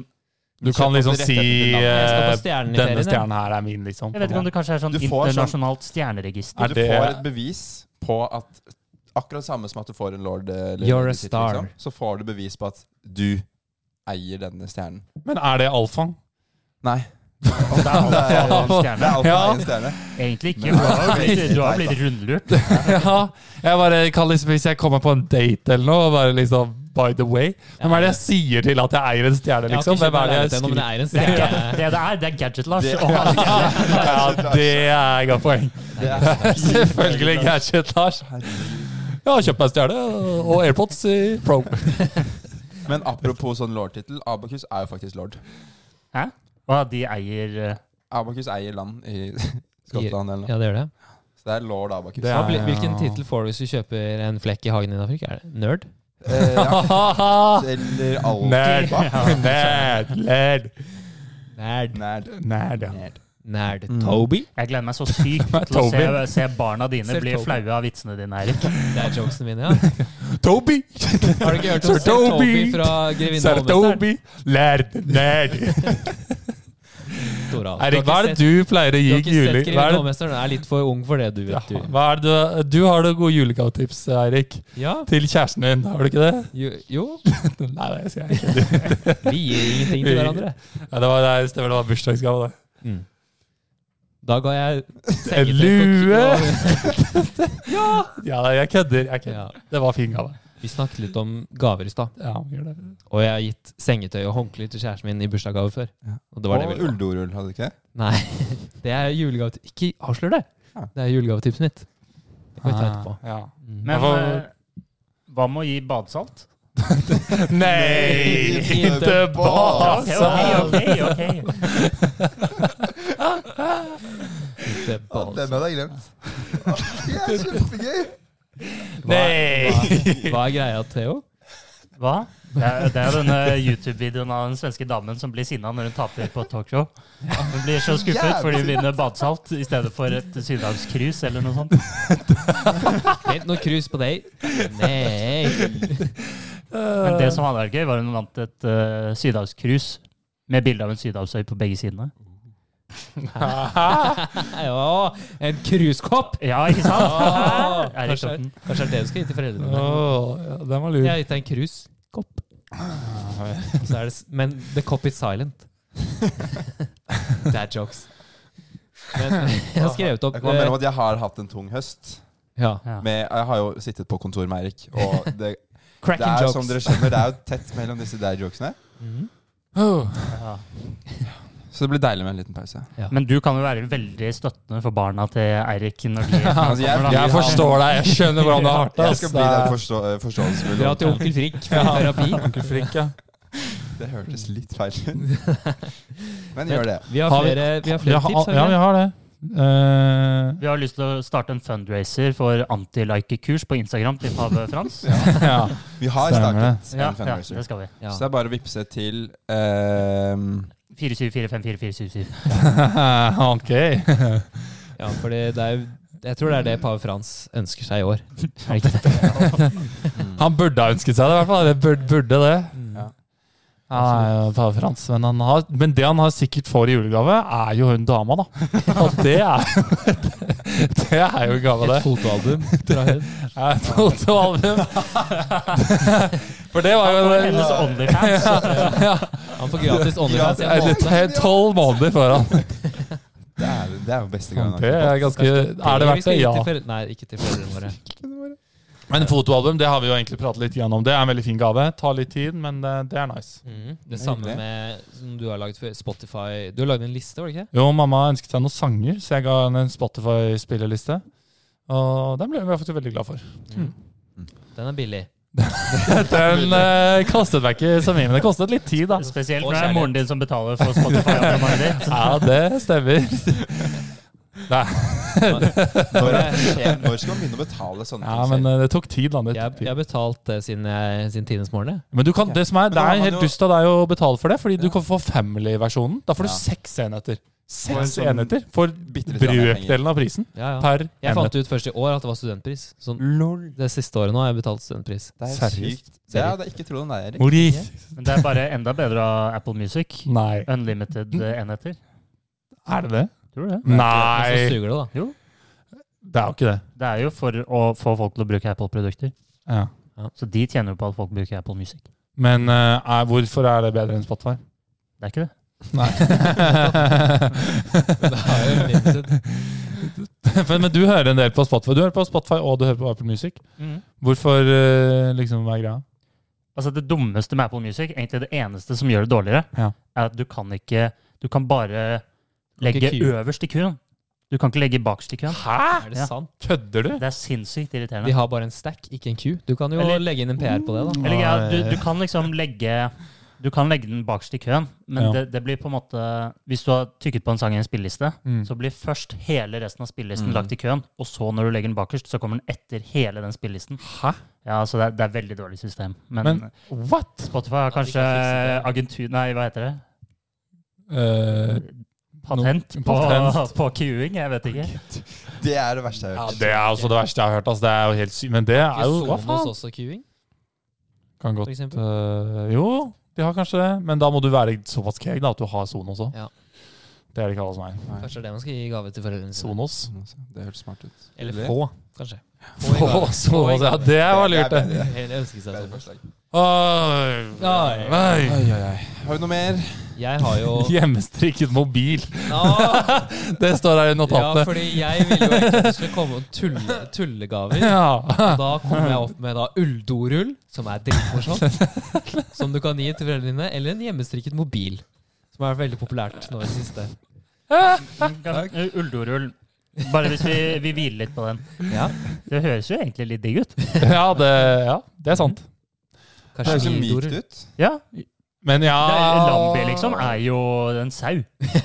Du kan liksom Kjøp opp de si rettighetene til navnet. Jeg skal eh, på stjernen i Denne ferien. jeg. stjernen her er min, liksom. jeg vet ikke om det kanskje er sånn Du får sånn- internasjonalt stjerneregister. Du Er det- får et bevis på at Akkurat samme som at du får en lord eh, eller You're a lady tittel, star. liksom, så får du bevis på at du eier denne stjernen. Men er det alfaen? Nei. Så det er alt for en Det er stjerne. alt for Ja. egen stjerne. Egentlig ikke. for Du har blitt, du har blitt rundlurt. ja. Jeg bare kan liksom, Hvis jeg kommer på en date eller noe, og bare liksom By the way. Hvem er det jeg sier til at jeg eier en Jeg har stjerne, ikke liksom? kjøpt Hvem er det leilighet jeg ennå, men jeg skriver? eier en Det, er, stjerne. ga- det det er, det er Gadget-Lars. Det- Og han stjerne. Ja, det er godt poeng. Det er Selvfølgelig Gadget Lars. Jeg har kjøpt meg stjerne og AirPods i Pro. Men apropos sånn lord-tittel, Abakus er jo faktisk lord. Hæ? Hva, de eier eh, Abakus eier land i Skottland eller noe. Ja, det gjør det. Så det er lord Abakus. Det Hva er- blir- Hvilken tittel får du hvis du kjøper en flekk i hagen din? Afrika? Er det Nerd? Eh, ja. Nerd, Eller alt. nerd, nerd. Nerd. Nerd. Nerd, ja. Nerd. Nerd. Mm. Toby? Jeg gleder meg så sykt til å se, Toby. se barna dine Ser bli Toby. flaue av vitsene dine, Erik. Det er jokesene mine, ja. Toby, Har du ikke hørt om Sir Sir Toby Toby. fra Grevinne Sir og Hovmesteren? Toby, lerd, nerd. Store alt. Erik, Altså, Du hva har ikke sett- Du er det du pleier å gi har ikke juli? sett Hva Grevinne og er det, Hovmesteren? Jeg er litt for ung for det, du vet du. hva er det du, du har noen gode julegavetips, Eirik. Ja, Til kjæresten din, har du ikke det? jo, jo. Nei, det skal jeg ikke. vi gir ingenting til hverandre. Nei, det var, det stemmer, det var bursdagsgave. det. Da ga jeg Mm. En lue! Ja, jeg kødder. Jeg kødder. Ja. Det var fin gave. Ah, Vi snakket litt om gaver i stad, Ja, gjør det. og jeg har gitt sengetøy og håndklær til kjæresten min i bursdagsgave før. Ja. Og det var det og vi ville. ulldorull, hadde du ikke det? Nei, det er julegave Ikke avslør det! Ja. Det er julegavetipset mitt. Det kan vi Ah. ta etterpå. Ja. Men Hva- eh, hva med å gi badesalt? Nei, ikke Ok, ok, basa! ok, ok. Det er bare- Den hadde jeg glemt. Det er kjempegøy! Nei! Hva, hva er greia, Theo? Hva? Det er, det er jo denne YouTube-videoen av den svenske damen som blir sinna når hun taper på et talkshow. Hun blir så skuffet fordi hun vinner badesalt i stedet for et sydhavscruise eller noe sånt. Øh. Helt noe krus på deg? Nei. Men det som hadde vært gøy, var hun vant et uh, sydhavscruise med bilde av en sydhavsøy på begge sidene. Ja, en cruisekopp! Ja, ikke sant? Åh, Er det Ah, kanskje, klart den? kanskje det er det du skal gi til foreldrene dine. Åh, ja, den var lur. Jeg har gitt deg en cruisekopp. Og så er det s- Men the cop is silent. Dad jokes. Men jeg har skrevet opp Jeg kan bare melde eh, om at jeg har hatt en tung høst. ja. Ja. Med, jeg har jo sittet på kontor med Eirik, og det, det cracking er jo jokes. som dere skjønner, det er jo tett mellom disse der jokesene. Mhm. Ja. Så det blir deilig med en liten pause. Men du kan jo være veldig støttende for barna til Eirik når de Altså, jeg- kommer, da. Jeg forstår deg. Jeg skjønner hvordan du har det. Jeg skal bli den ass. forstå forståelsesfulle. Dra til onkel Frikk for terapi. Onkel Frikk, ja. Det hørtes litt feil ut. Men gjør det. Vi har Har vi- flere, vi har flere Ja, tips. ja, Har vi vi det? har det. Eh, Vi har lyst til å starte en fundraiser for anti-like-kurs på Instagram til Pave Frans. ja. Vi har Stemmer startet Ja, en ja, fundraiser. det skal vi. Ja. Så det er bare å vippse til ehm, 4745477. ok. Ja, for det det er jo Jeg tror det er det pave Frans ønsker seg i år. Han burde ha ønsket seg det, i hvert fall. Eller burde, burde det. Ja. Ja, nei, Pave Frans, men, han har, men det han har sikkert får i julegave, er jo hun dama, da. Og det er jo Det er jo en gave, Et det. fotoalbum fra hun. Ja, Et fotoalbum. For det var jo det. Hennes Onlyfans. Han får gratis OnlyFans i en måned. Eller tolv måneder foran. Det er, det er jo beste gangen. Det er ganske Er det Vi verdt skal det? gi Ja. til foreldre- Nei, ikke til foreldrene våre. Men fotoalbum, det har vi jo egentlig pratet litt gjennom. Det er en veldig fin gave. Tar litt tid, men eh, det er nice. Mm. Det samme hyggelig. med som du har lagd før. Spotify. Du har lagd en liste, var det ikke? Jo, mamma ønsket seg noen sanger, så jeg ga henne en Spotify-spillerliste. Og den ble jeg faktisk veldig glad for. Den er billig. Den eh, kostet meg ikke så mye, men det kostet litt tid, da. Spesielt Og når det er moren din som betaler for Spotify. abonnementet ditt. Ja, det stemmer. Nei. Når, er- når skal man begynne å betale sånne Ja, men eh, det tok tid, da. Det tok Jeg, jeg tid. har betalt det siden, jeg- siden tidenes morgen. jeg. Men du kan, det som er, Men det da har er man helt jo- dust av deg å betale for det, fordi du kan få family-versjonen. Da får du Ja. seks enheter. Seks sånn enheter for bitte litt mer penger. brøkdelen av prisen Ja, ja. per Jeg fant enhet. ut først i år at det var studentpris. Sånn, Lol. det siste året nå har jeg betalt studentpris. Det er Seriøst? sykt. Det hadde jeg ikke trodd om deg, Erik. Maurice. Men det er bare enda bedre av Apple Music. Nei. Unlimited eh, enheter. Er det det? Tror du det? Men så Nei. suger det, da. Det er jo ikke det. Det er jo for å få folk til å bruke Apple-produkter. Ja. Så de tjener jo på at folk bruker Apple Music. Men eh, er, hvorfor er det bedre enn Spotify? Det er ikke det. Nei. men, men du hører en del på Spotify. Du hører på Spotify og du hører på Apple Music. Hvorfor eh, liksom hva er greia? Altså Det dummeste med Apple Music, egentlig det eneste som gjør det dårligere, Ja. er at du kan ikke Du kan bare legge queue. øverst i køen. Du kan ikke legge bakst i køen. Hæ? Er det Ja. sant? Kødder du? Det er sinnssykt irriterende. De har bare en stack, ikke en queue. Du kan jo Eller- legge inn en PR på det, da. Eller ja, du, du kan liksom legge Du kan legge den bakst i køen, men Ja. det, det blir på en måte Hvis du har tykket på en sang i en spilleliste, Mm. så blir først hele resten av spillelisten Mm. lagt i køen, og så når du legger den bakerst, så kommer den etter hele den spillelisten. Hæ? Ja, så det er, det er veldig dårlig system. Men, Men- What? Spotify har Ja, de kan kanskje fikse det. agentur... Nei, hva heter det? Eh, Patent, No- på, patent. på queuing? Jeg vet ikke. Det er det verste jeg ja, har hørt. det er altså det verste jeg har hørt. Altså, det er jo helt sykt. Men det er Ikke jo Hva Sonos faen? også queuing? Kan godt for eksempel? eh, Jo, de har kanskje det. Men da må du være såpass keeg da, at du har Sonos også. Ja. Det er det ikke alle som er. Nei. Sånn, Kanskje det er det man skal gi gave til foreldrene sine. Sonos. Det hørtes smart ut. Eller få, kanskje. i Få gave. Sonos, ja. Det var lurt, det. bedre. Eller ønske seg Bedre sånn. forslag. Oi. Oi. Oi. Oi, oi, oi. Har vi noe mer? Jeg har jo Hjemmestrikket mobil. Nå, Det står her i Ja, notatene. fordi jeg ville jo egentlig at det skulle komme noen tulle, tullegaver. Ja. Da kommer jeg opp med da ulldorull, som er dritmorsomt. Som du kan gi til foreldrene dine. Eller en hjemmestrikket mobil, som har vært veldig populært nå i det siste. Kan- Ulldorull. Bare hvis vi, vi hviler litt på den. Ja, Det høres jo egentlig litt digg ut. Ja, det, ja, det er sant. Det høres jo Kashmirdorull. mykt ut. Ja, Men ja det er- Ah. Lambi liksom er jo en sau. Det er-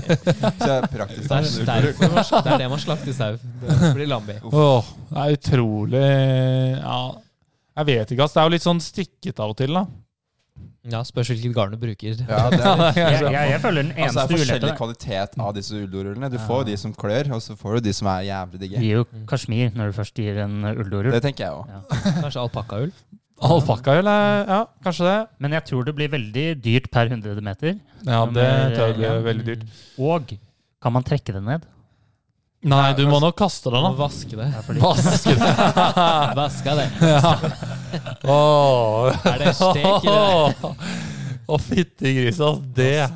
Så det er praktisk. Det er derfor man- det er det man slakter sau. Det blir lambi. Åh, det er utrolig Ja, jeg vet ikke, ass. Det er jo litt sånn stikket av og til, da. Ja, Spørs hvilket garn du bruker. Ja, det er litt- Jeg, jeg, jeg føler den Altså, eneste det er ulempen forskjellig kvalitet av disse ulldorullene. Du får jo de som klør, og så får du de som er jævlig Du digge. gir jo kasjmir når du først gir en eh, ulldorull. Det tenker jeg òg. Kanskje alpakkaull. Alpakka, eller? Ja, kanskje det. Men jeg tror det blir veldig dyrt per 100 meter. Ja, det tror jeg blir Ja. veldig dyrt. Og kan man trekke det ned? Nei, du må nok kaste den, Må da. vaske det. Ja, fordi- Vaske den. Vaska det. Ja. Åh. Er det stek i det? Å, fytti grisen, ass. Det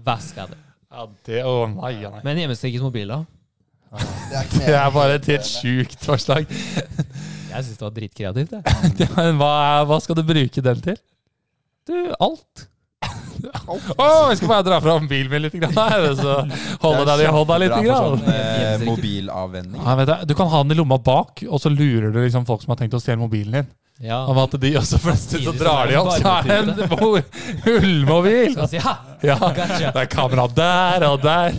Vaska det. Ja, det Å, nei, ja, nei. Men hjemmestrikket mobil, da? Det er bare et helt sjukt forslag. Jeg syns det var dritkreativt. jeg. Men hva, er- hva skal du bruke den til? Du, alt. Å, jeg skal bare dra fram bilen min litt grann her, og så holde den i hånda litt. Grann. Sånn, eh, mobilavvenning. Ja, vet du, du kan ha den i lomma bak, og så lurer du liksom folk som har tenkt å stjele mobilen din. Ja. Om at de også plutselig så drar de opp, så er det en mo- Så ullmobil! jeg sier, «Ha, Ja, gotcha. det er kamera der og der.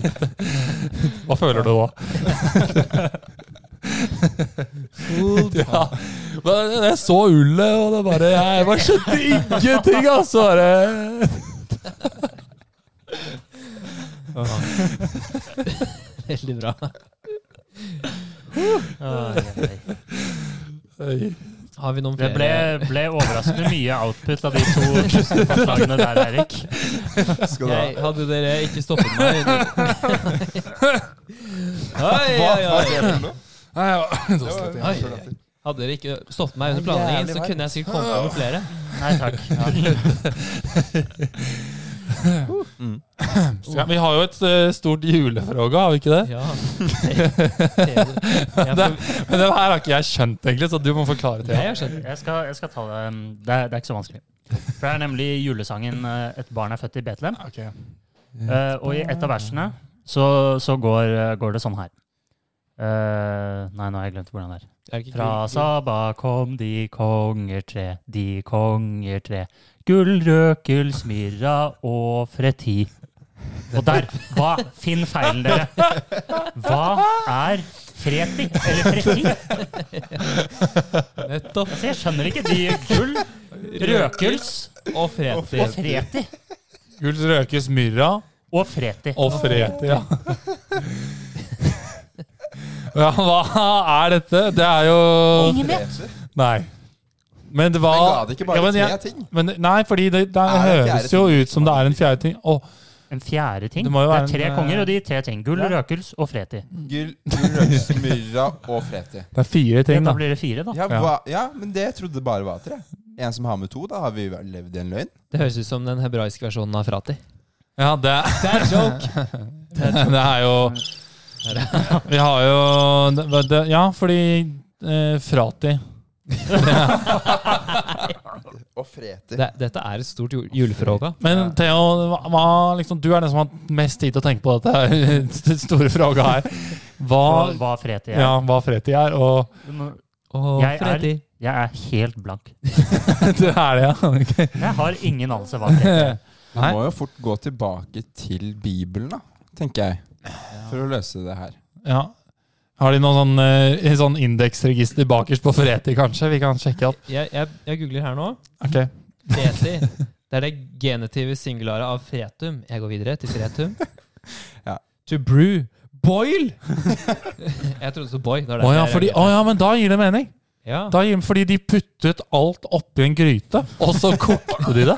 Hva føler du nå? Food. Ja. Men jeg så ullet, og det bare Jeg bare skjønte ingenting, altså! Bare. Veldig bra. Oi, oi, oi. Oi. Har vi noen Det flere? ble, ble overraskende mye output av de to forslagene der, Eirik. Skal du ha? Jeg, hadde dere ikke stoppet meg Oi, Hva oi, hva er oi. det for noe? Nei, ja. Det var- Oi, oi. Hadde dere ikke stoppet meg under planleggingen, så kunne jeg sikkert kommet på noen flere. Nei takk. Mm. Ja, vi har jo et eh, stort julefråga, har vi ikke det? Ja. Jeg, det? Men den her har ikke jeg skjønt, egentlig, så du må forklare til. jeg har skjønt. Jeg skal, jeg skal ta det. um, Det er, det er ikke så vanskelig. For det er nemlig julesangen eh, 'Et barn er født i Betlehem'. Okay. Eh, og i et av versene så, så går, eh, går det sånn her. Eh, nei, nå har jeg glemt hvordan det er. Er det ikke Fra gull- Saba kom de konger tre, de konger tre. Gull, rød, gull, smirra og freti. Og der hva, Finn feilen, dere. Hva er freti? Eller freti? Nettopp. Altså, jeg skjønner ikke. De gull, røkels Og og Freti. freti. Guls røkes myrra Og freti. og freti, ja. ja. Hva er dette? Det er jo Ingen vet. Nei. Men det var Men ga det ikke bare ja, men tre jeg- ting? men, Nei, fordi det, det Er det en fjerde høres jo ting? ut som det er en fjerde ting. Å, En fjerde ting. Det Det, må jo være er tre en, eh, konger, og de tre ting. Gull, røkels og freti. Gull, røks, myrra og freti. det er fire Ja, ting, da. da blir det fire, da. Ja, hva, ja, men det trodde det bare var tre. En som har med to, da har vi vel levd i en løgn. Det høres ut som den hebraiske versjonen av Frati. Ja, det, er joke. det er jo Vi har jo det, det, Ja, fordi eh, Frati Og freti. Det, dette er et stort jul- julefråga. Men Theo, hva, hva, liksom, du er den som har hatt mest tid til å tenke på dette her, den store fråga her. Hva, Og hva freti er. ja, hva Freti er, og Du må- Og Jeg er- Freti. Jeg er helt blank. Du er det, ja? Ok. Jeg har ingen anelse hva freti er. Vi må jo fort gå tilbake til Bibelen, da, tenker jeg. For å løse det her. Ja. Har de noe sånn, eh, sånn indeksregister bakerst på Freti, kanskje? Vi kan sjekke opp. Jeg, jeg, jeg googler her nå. Ok. Freti. Det er det genitive singularet av fretum. Jeg går videre til fretum. Ja. To brew. Boil! jeg trodde det sto boy. det var Å derfor ja, jeg fordi, reagerte. å, ja, men da gir det mening. ja. Da gir det, fordi de puttet alt oppi en gryte, og så kokte de det.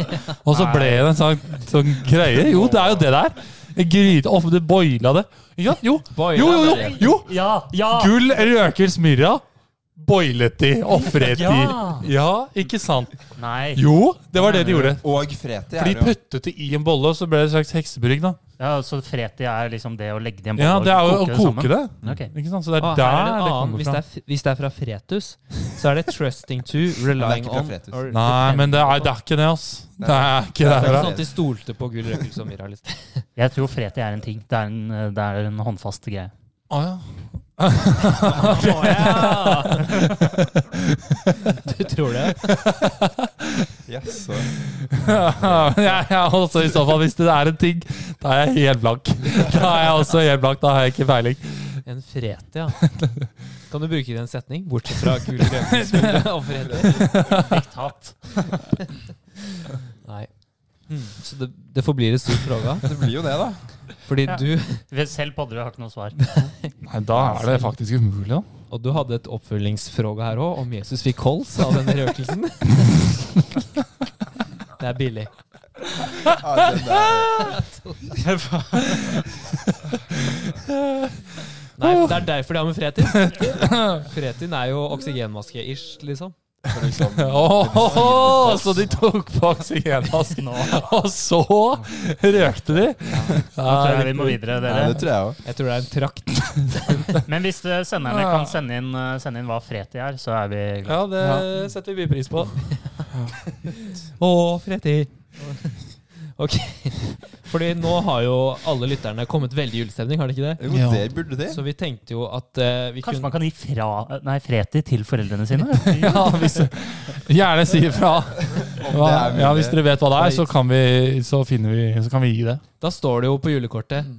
Og så ble det en sånn, sånn greie. Jo, det er jo det det er. En Gryte opp, det boila det. Ja, jo, Boila jo, jo, jo, det. jo. Ja, ja! Gull, røkels, myrra. Boilet de, ofret de. Ja. Ja, ikke sant? Nei. Jo, det var det de gjorde. Og freti For er de jo puttet det i en bolle, og så ble det et slags heksebrygg, da. Ja, så freti er liksom det å legge det i en bolle Ja, det er jo å koke sammen? det. Ok. Ikke sant? Så det Ah, er her der er det en det annen. kommer Hvis det, fra. er, f- hvis det er fra Fretus, så er det 'trusting to, relying ikke fra on' Fretus. or Nei, men det er, det er ikke det, ass. Det er Det ikke er det. ikke sånn at de stolte på gull, røkelse og myrra. Liksom. Jeg tror freti er en ting. Det er en, eh, det er en håndfast greie. Å sånn. ja. Å, ja. Du tror det? Jaså. jeg er også i så fall, hvis det er en ting, da er jeg helt blank. Da er jeg også helt blank, da har jeg ikke peiling. En frete, ja. Kan du bruke det i en setning? Bortsett fra gull, røkelse myrra og frete. Diktat. Nei. Mm, så det, det forblir et stort fråga. Det blir jo det, da. Fordi Ja. du Selv Podderud har ikke noe svar. Nei, da er det faktisk umulig, da. Og du hadde et oppfølgingsfråga her òg, om Jesus fikk kols av denne røkelsen. Det er billig. Ja, den der- Nei, det er derfor de har med Fretin. Fretin er jo oksygenmaske-ish, liksom. for liksom, Åh, så de tok på oksygenmasken, Nå og så røkte de? tror jeg vi må videre, Nei, det dere. tror jeg òg. Jeg tror det er en trakt. Men hvis eh, senderne kan sende inn, eh, sende inn hva freti er, så er vi glad. Ja, det setter vi mye pris på. Å, Freti. Ok. Fordi nå har jo alle lytterne kommet veldig i julestemning, har de ikke det? Jo, Ja. det burde de. Så vi tenkte jo at eh, vi Kanskje kunne man kan gi fra, nei, freti til foreldrene sine? Ja, hvis Gjerne si ifra. Hva- Ja, hvis dere vet hva det er, så kan vi, så finner vi, så kan vi gi det. Da står det jo på julekortet Mm.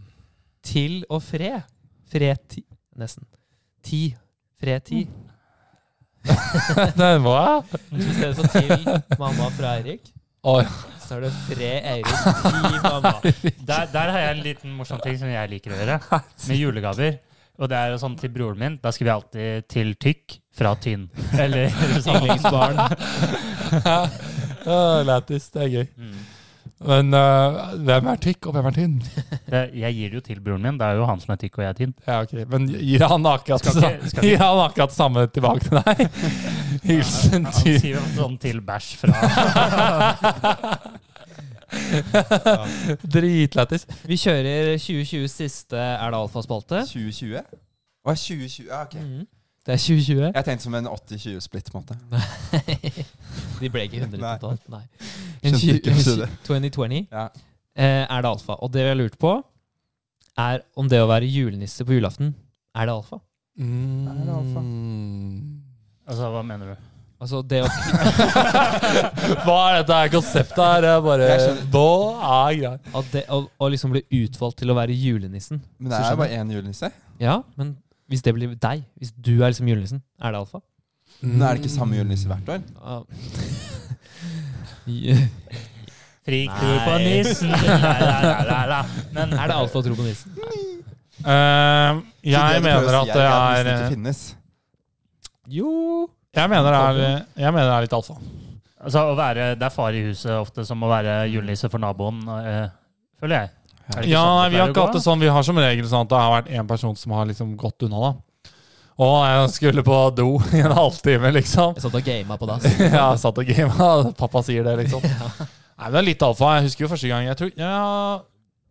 'Til og fred'. Freti Nesten. Ti. Freti. Den var jeg. I stedet for 'til mamma fra Eirik', Oi. så er det 'fre Eirik til mamma'. Der, der har jeg en liten morsom ting som jeg liker å gjøre, med julegaver. Og det er jo sånn til broren min. Da skriver jeg alltid 'til tykk' fra tynn. Eller sånn. samlingsbarn. Å, Lættis. Det er gøy. Mm. Men øh, hvem er tykk, og hvem er tynn? Det, jeg gir det jo til broren min. Det er jo han som er tykk, og jeg er tynn. Ja, ok. Men gir han akkurat, Skal ikke- sa- skal ikke- gir han akkurat samme tilbake til deg? Hilsen Han til sier jo sånn til bæsj fra Dritlættis. Vi kjører 2020 siste Er det alfa-spalte. 2020? Å, 2020. Ja, ok. Mhm. Det er 2020. Jeg tenkte som en 80-20-splitt, på en måte. De ble ikke 100 Nei. totalt, nei. Skjønte tju- ikke, skjønte. 2020 Ja. eh, er det alfa. Og det jeg lurte på, er om det å være julenisse på julaften, er det alfa? Mm. det alfa? Altså, hva mener du? Altså, det å Hva er dette her konseptet her? Jeg bare, Jeg skjønner. da er greit. at det, å, å liksom bli utvalgt til å være julenissen Men det Så er jo skjønner bare én julenisse. Ja, men hvis det blir deg, hvis du er liksom julenissen, er det alfa? Mm. Nå er det ikke samme julenisse hvert år. Ja. Ja. Fri tro på Nei. nissen! La, la, la, la. Men er det alfa å tro på nissen? Eh, Så jeg prøver mener å at si det at er eh, nissen ikke finnes. Jo Jeg mener det er, jeg mener det er litt alfa. Altså, å være, det er far i huset ofte som å være julenisse for naboen, eh, føler jeg. Er det ikke sånn Ja, det nei, vi har pleier å ikke gå, hatt det da? sånn. Vi har som regel sånn at det har vært én person som har liksom gått unna, da. Å, jeg skulle på do i en halvtime, liksom. Jeg satt og gama på dass. Jeg har satt og gama. Pappa sier det, liksom. Nei, men det er litt alfa. Jeg husker jo første gang jeg tror ja,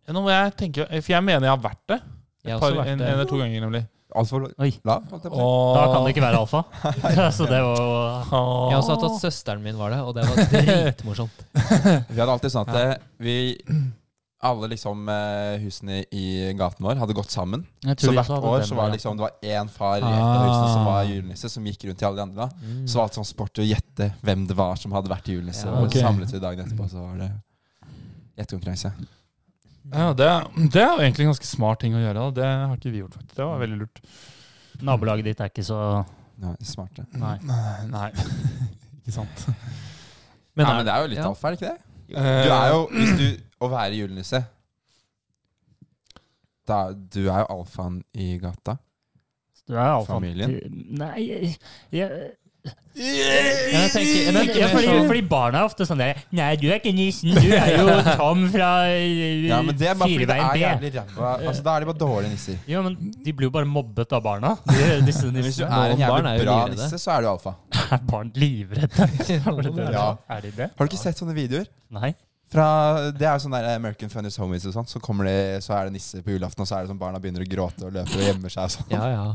Nå må jeg tenke For jeg mener jeg har vært det. Jeg har Par, også vært en, en det. eller to ganger, nemlig. Altfor Oi. lav. holdt jeg på å si. Og, Da kan det ikke være alfa. Så det var jo Jeg og- har også hatt at søsteren min var det, og det var dritmorsomt. Vi hadde alltid sånn at eh, vi alle liksom eh, husene i gaten vår hadde gått sammen. Så hvert år så var det liksom Det var én far i et Ah. av husene som var julenisse, som gikk rundt til alle de andre. da Mm. Så var det alltid sånn sport å gjette hvem det var som hadde vært julenisse. Ja, Og ok. så samlet vi dagen etterpå, så var det gjettekonkurranse. ja, det, det er jo egentlig en ganske smart ting å gjøre. Da. Det har ikke vi gjort, faktisk. Det var veldig lurt. Nabolaget ditt er ikke så Ja, smarte. Nei. Nei, ikke sant. Men, Nei, men det er jo litt ja. alfa, er det ikke det? Du er jo, hvis du, Å være julenisse da, Du er jo alfaen i gata. Du er alfa. Familien? Nei jeg, jeg, jeg tenker- jeg men, tenker ja, mer fordi, sånn- fordi barna er ofte sånn der Nei, du er ikke nissen, du er jo Tom fra eh, Ja, men det er bare fordi det er Fireveien B. jævlig ræva Altså, Da er de bare dårlige nisser. Jo, men de blir jo bare mobbet av barna. De, disse Hvis du nissene er en Noen barn er jo jævlig bra livredde. nisse, så er du alfa. er barn livredde. Ja. Er de det? Har du ikke sett sånne videoer? Nei. Fra, det er jo sånn der American Funniest Homies og sånn. Så, kommer det, så er det nisse på julaften, og så er det sånn barna begynner å gråte og løper og gjemmer seg. og Sånn. Ja, ja.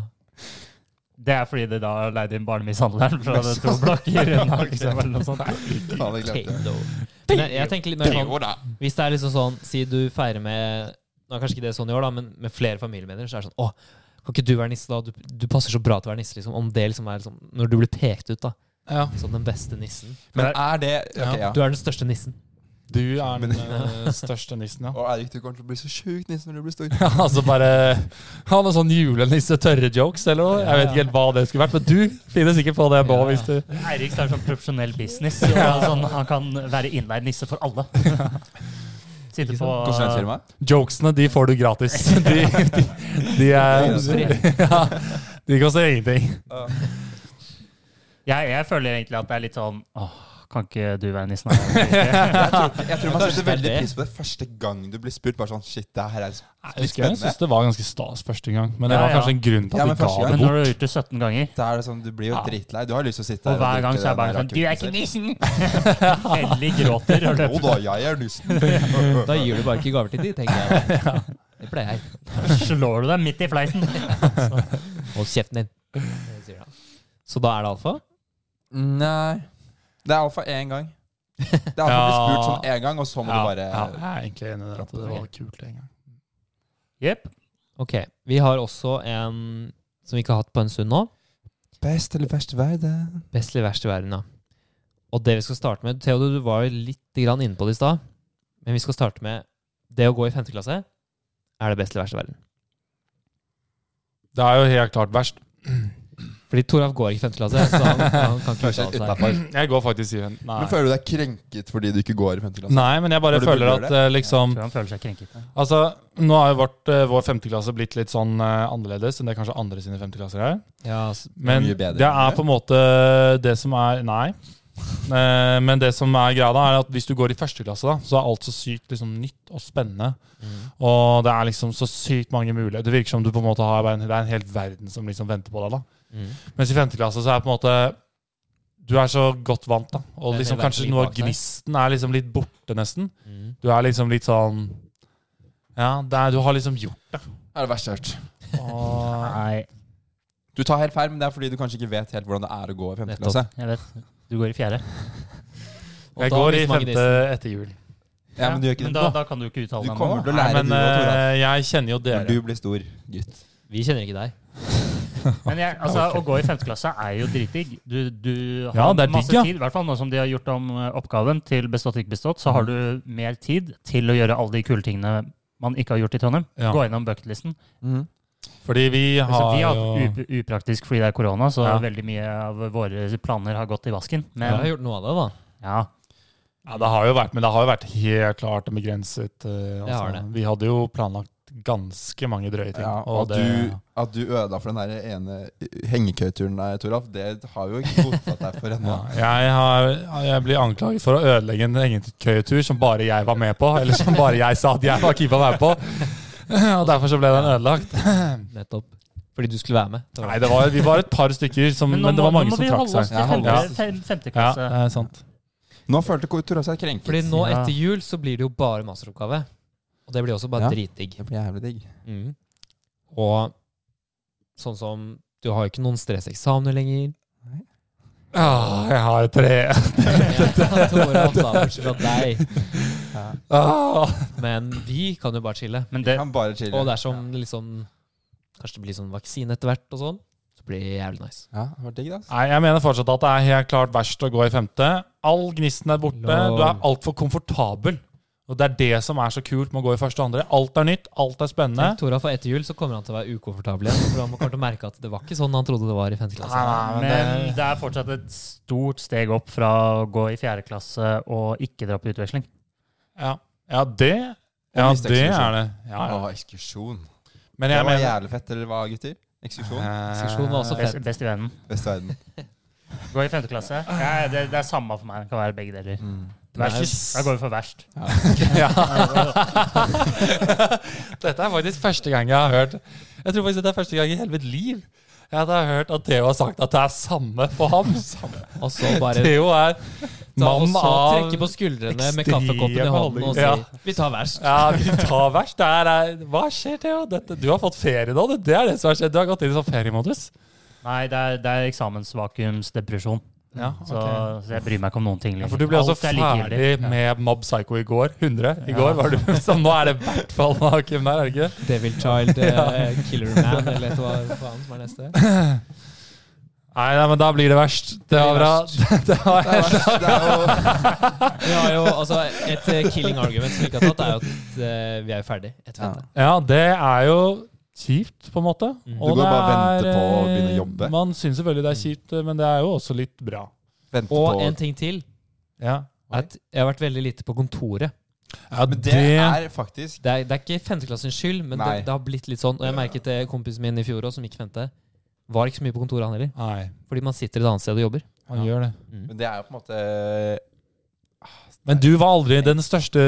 Det er fordi de da leide inn barnemishandleren fra det to blokker unna. Liksom, eller noe sånt. Faen, jeg glemte det. Potato. Men jeg, jeg tenker litt mer sånn Hvis det er liksom sånn Si du feirer med Nå er kanskje ikke det sånn i år, da, men med flere familiemedlemmer, så er det sånn Å, kan ikke du være nisse, da? Du, du passer så bra til å være nisse, liksom. Om det liksom er liksom Når du blir pekt ut, da, Eh, Ja. som den beste nissen. Men er det Ok, ja. Du er den største nissen. Du er den Men- eh, største nissen, ja. Og Eirik, du kommer til å bli så sjukt nisse når du blir stor. Ja, altså bare Han har sånn julenisse-tørre-jokes eller noe. Jeg vet ikke helt hva det skulle vært, men du finner sikkert på det, Bård. Ja. hvis du... Eirik starter sånn profesjonell business. Og sånn, han kan være innleid nisse for alle. Sitte på Konsulentfirma? Jokesene, de får du gratis. De, de, de er ja, De koster ingenting. Jeg, jeg føler egentlig at det er litt sånn Åh, kan ikke du være nissen? her?» Jeg tror, ikke- jeg tror man setter det er veldig det. pris på det første gang du blir spurt. Bare sånn Shit, det her er Jeg husker jeg syntes det var ganske stas første gang, men det Ja, var ja. kanskje en grunn til Ja, at men de første ga gang- Men det når bort. du har gjort det 17 ganger, Det er det sånn, Du blir jo dritlei. Du har lyst til å sitte og der hver gang drikke så er den bare der sånn Du er ikke akevitten selv. nissen! Hellig gråter og Jo løper. da, jeg er nissen. Da gir du bare ikke gaver til de, tenker jeg. da. Det pleier jeg. Slår du deg midt i fleisen? Hold kjeften din. Det sier han. Så da er det alfa? Nei. Det er alfa én gang. Det er alfa Ja. blitt spurt sånn én gang, og så må Ja, du bare ja, jeg er egentlig enig i det, at det var kult en gang. Jepp. Ok. Vi har også en som vi ikke har hatt på en stund nå. Best eller verst i verden? Best eller verst i verden, ja. Og det vi skal starte med Theodor, du var jo litt grann inne på det i stad. Men vi skal starte med det å gå i femte klasse er det beste eller verste i verden. Det er jo helt klart verst. Fordi Toralf går ikke i femte klasse, så han, han kan ikke Kanskje uttale seg. utenfor. Jeg går faktisk i den. Nei. Men føler du deg krenket fordi du ikke går i femte klasse? Nei, men jeg bare Når du føler burde at gjøre eh, liksom Jeg tror han føler seg krenket. Altså, nå har jo vårt, eh, vår femteklasse blitt litt sånn eh, annerledes enn det kanskje andre sine femteklasser er. Ja, s- Men Mye bedre det enn er det. på en måte det som er Nei. Eh, Men det som er greia, da, er at hvis du går i første klasse, da, så er alt så sykt liksom, nytt og spennende. Mm. Og det er liksom så sykt mange muligheter. Det virker som du på en måte har bare en, det er en hel verden som liksom venter på deg. da. mm. Mens i femte klasse så er det på en måte Du er så godt vant, da. Og Det er en hel liksom, verden kanskje ligger noe av bak deg. gnisten er liksom litt borte, nesten. Mm. Du er liksom litt sånn Ja, det er, du har liksom gjort Er det verst jeg har hørt. og, Nei, Du tar helt feil, men det er fordi du kanskje ikke vet helt hvordan det er å gå i femte Nettopp. klasse. jeg vet. Du går i fjerde. Og Jeg da går i blir mange femte disse- etter jul. Ja, men du gjør ikke det da, nå. da kan du ikke uttale Du deg om kommer det. til å Nei, lære men du og Toralf eh, jeg kjenner jo når dere. du blir stor gutt. Vi kjenner ikke deg. Men jeg, altså, å gå i femte klasse er jo dritdigg. Du, du har Ja, det er masse digg, ja. tid, i hvert fall nå som de har gjort om eh, oppgaven til bestått ikke bestått, så har du mer tid til å gjøre alle de kule tingene man ikke har gjort i Trondheim. Ja. Gå innom bucketlisten. Mm. Fordi vi har, Altså, vi har jo hatt up upraktisk fordi det er korona, så Ja. veldig mye av våre planer har gått i vasken. Jeg har Men gjort noe av det, da. ja, Ja, det har jo vært, men det har jo vært helt klart og begrenset. eh, Det har det. Vi hadde jo planlagt ganske mange drøye ting. Ja, og at du, at du ødela for den der ene hengekøyturen der, Toralf, det har jo ikke godtatt deg for ennå. ja, jeg, har, jeg blir anklaget for å ødelegge en egen køyetur som bare jeg var med på, eller som bare jeg sa at jeg var keen på å være med på. Og derfor så ble den ødelagt. Nettopp. Fordi du skulle være med. Det var- Nei, det var, vi var et par stykker, som, men, nå det må- var mange nå må som vi trakk holde oss seg. til Ja, holde femte, oss. fem, femte Ja, klasse. det er sant. Nå følte Toralf seg krenket. Fordi nå Ja. etter jul så blir det jo bare masteroppgave. Og det blir også bare Ja. dritdigg. Mm. Det blir jævlig digg. Og sånn som Du har jo ikke noen stresseksamener lenger. Ah, jeg har tre. Ah. Men vi kan jo bare chille. Men det, Kan bare chille. Og dersom det liksom Kanskje det blir sånn vaksine etter hvert og sånn, så blir det jævlig nice. Ja, det var digg, da. Nei, jeg mener fortsatt at det er helt klart verst å gå i femte. All gnisten er borte. Lol. Du er altfor komfortabel. Og det er det som er så kult med å gå i første og andre. Alt er nytt, alt er spennende. Tenk Tora, for etter jul så kommer han til å være ukomfortabel igjen. For han kommer til å merke at det var ikke sånn han trodde det var i 5. klasse. Nei, nei, Men men det, det er fortsatt et stort steg opp fra å gå i fjerde klasse og ikke dra på utveksling. ja. ja, det Ja, Og liste det eksklusjon. er det. Ja, ja. Å, ekskursjon. Men Det jeg var mener jævlig fett, eller hva, gutter? Ekskursjon? Seksjon var også Eh, fett. Best, best i verden. Best i verden. Gå i femte klasse. Ja, det, det er samme for meg. Det kan være begge deler. Mm. Verst. Da går vi for verst. Ja. Dette er faktisk første gang jeg har hørt Jeg tror faktisk det er første gang i hele mitt liv jeg har hørt at Theo har sagt at det er samme for ham. Og så bare Theo er ta, og mann så av trekke på skuldrene med ekstreme kaffekoppen i hånden og si holdninger. 'vi tar verst'. Ja, vi tar verst. Det er, er- hva skjer, Theo? Dette, du har fått ferie nå. Det, det er det som har skjedd. Du har gått inn i sånn feriemodus. Nei, det er, det er eksamensvakuumsdepresjon. Ja, Så, så jeg bryr meg ikke om noen ting Ja, lenger. for du ble altså Alt er likegyldig. ferdig med Mob Psycho i går. 100 i går var du. Så nå er det i hvert fall Joakim der, er det ikke? Devil Child, eh, Killer Man eller hva faen som er neste. Nei, nei, men da blir det verst. Det var bra. Det var Det er verst, det er jo Vi har jo altså et eh, killing argument som vi ikke har tatt, er jo at eh, vi er jo ferdig etter Ja. dette. Ja, det er jo kjipt, på en måte. Mm. Du går det bare og er, venter på å begynne å eh, jobbe. Man syns selvfølgelig det er kjipt, eh, men det er jo også litt bra. Vente Og på en ting til. Ja, er At jeg har vært veldig lite på kontoret. Men det er faktisk Det er, det er ikke femteklassens skyld, men det, Nei. det har blitt litt sånn. Og jeg merket det kompisen min i fjor òg, som gikk femte. Var ikke så mye på kontoret, han heller. Nei, Fordi man sitter et annet sted og jobber. man gjør det. Men det er jo på en måte Men du var aldri den største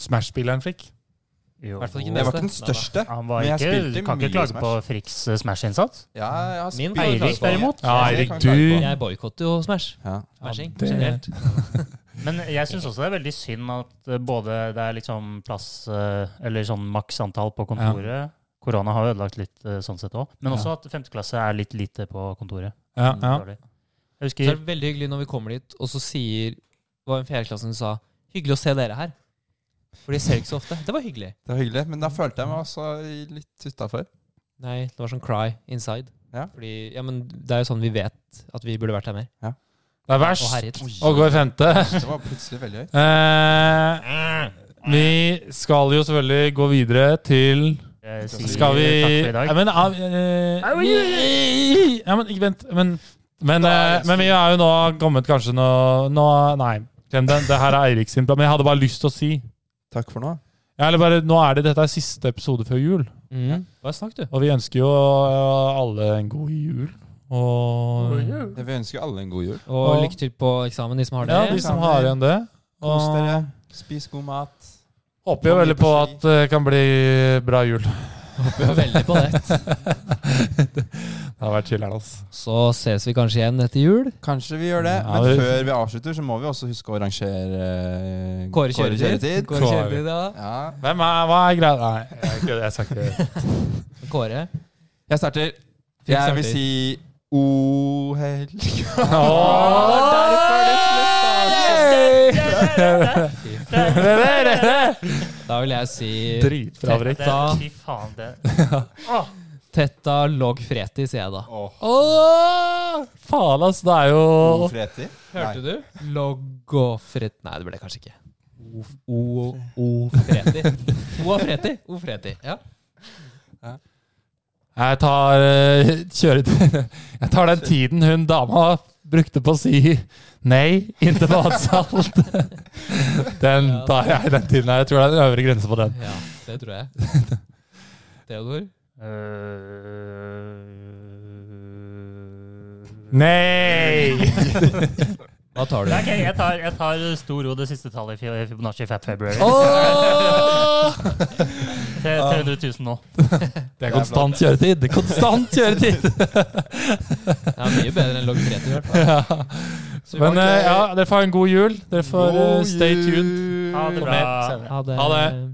Smash-spilleren, Flikk. Jo. I hvert fall ikke Jeg var ikke Neste. den største. Han var Men jeg ikke, spilte kan ikke mye klage Smash. på Friks eh, Smash-innsats. Ja, jeg har Min spilt Eirik, derimot. Ja, Ja, det Eirik, kan jeg klage du på. Jeg boikotter jo Smash. Ja. Smashing, Ja, det- generelt. Men jeg syns også det er veldig synd at eh, både det er liksom plass eh, Eller sånn maks antall på kontoret. Korona har ødelagt litt eh, sånn sett òg. Men også at femte klasse er litt lite på kontoret. ja, ja. Dårlig. Jeg Så er husker det veldig hyggelig når vi kommer dit, og så sier Det var en fjerdeklasse som sa 'hyggelig å se dere her'. For de ser ikke så ofte. Det var hyggelig. Det var hyggelig, men da følte jeg meg også litt utafor. Nei, det var sånn cry inside. Ja. Fordi, ja, men det er jo sånn vi vet at vi burde vært her mer. Det er Og verst herjet. å gå i femte. Det var plutselig veldig høyt. Eh, vi skal jo selvfølgelig gå videre til eh, si Skal vi takk for i dag. Ja, men, av- eh, ja, men ikke vent. Men, men, eh, men vi er jo nå kommet kanskje nå, nå Nei, glem den. Det her er Eirik sin plan. Men jeg hadde bare lyst til å si Takk for nå. ja, eller bare, nå er det, Dette er siste episode før jul, Mm. Hva snakk, du? og vi ønsker jo eh, alle en god jul. Og Jeg vil ønske alle en god jul. Og Ja. lykke til på eksamen, de som har det. ja, de som har igjen det. Kos dere. Og Spis god mat. håper jo veldig på at det kan bli bra jul. Håper jo veldig på det. Det har vært chiller'n, altså. Så ses vi kanskje igjen etter jul. Kanskje vi gjør det. Ja, Men vi- før vi avslutter, så må vi også huske å rangere eh, Kåre kjøretid. Kåre Kåre Kåre. kjøretid, ja. Ja. Hvem er, hva er greia Nei, jeg, kødder, jeg sa ikke det. Kåre. Jeg starter. Fint Jeg vil starter. si O helg Dritbra, Da vil jeg si Det- Fredrik. det- Fy faen, det Åh, Tetta log freti, sier jeg da. Åh, Åh, faen, ass. Det er god jo freti. Hørte du? Log og freti Nei, det ble kanskje ikke. O, o, o freti. O og freti. O freti. Ja. Jeg tar, eh, kjører, til- jeg tar den tiden hun dama brukte på å si nei inntil badesaltet. Den tar jeg, den tiden her. Jeg tror det er en øvre grense på den. ja. Det tror jeg. Theodor? Eh, Øh, Nei! Hva tar Nei, du? ok, jeg tar, jeg tar stor ro det siste tallet i Fi- Fibonacci Fat February. Åh! Tre- 300 000 nå. Det er konstant kjøretid. Det er Konstant kjøretid! Det er mye bedre enn log freti, i hvert fall. Ja. Men eh, ja, dere får ha en god jul. Dere får eh, stay tuned. Ha det Kom bra. igjen, senere. Ha det. Ha det.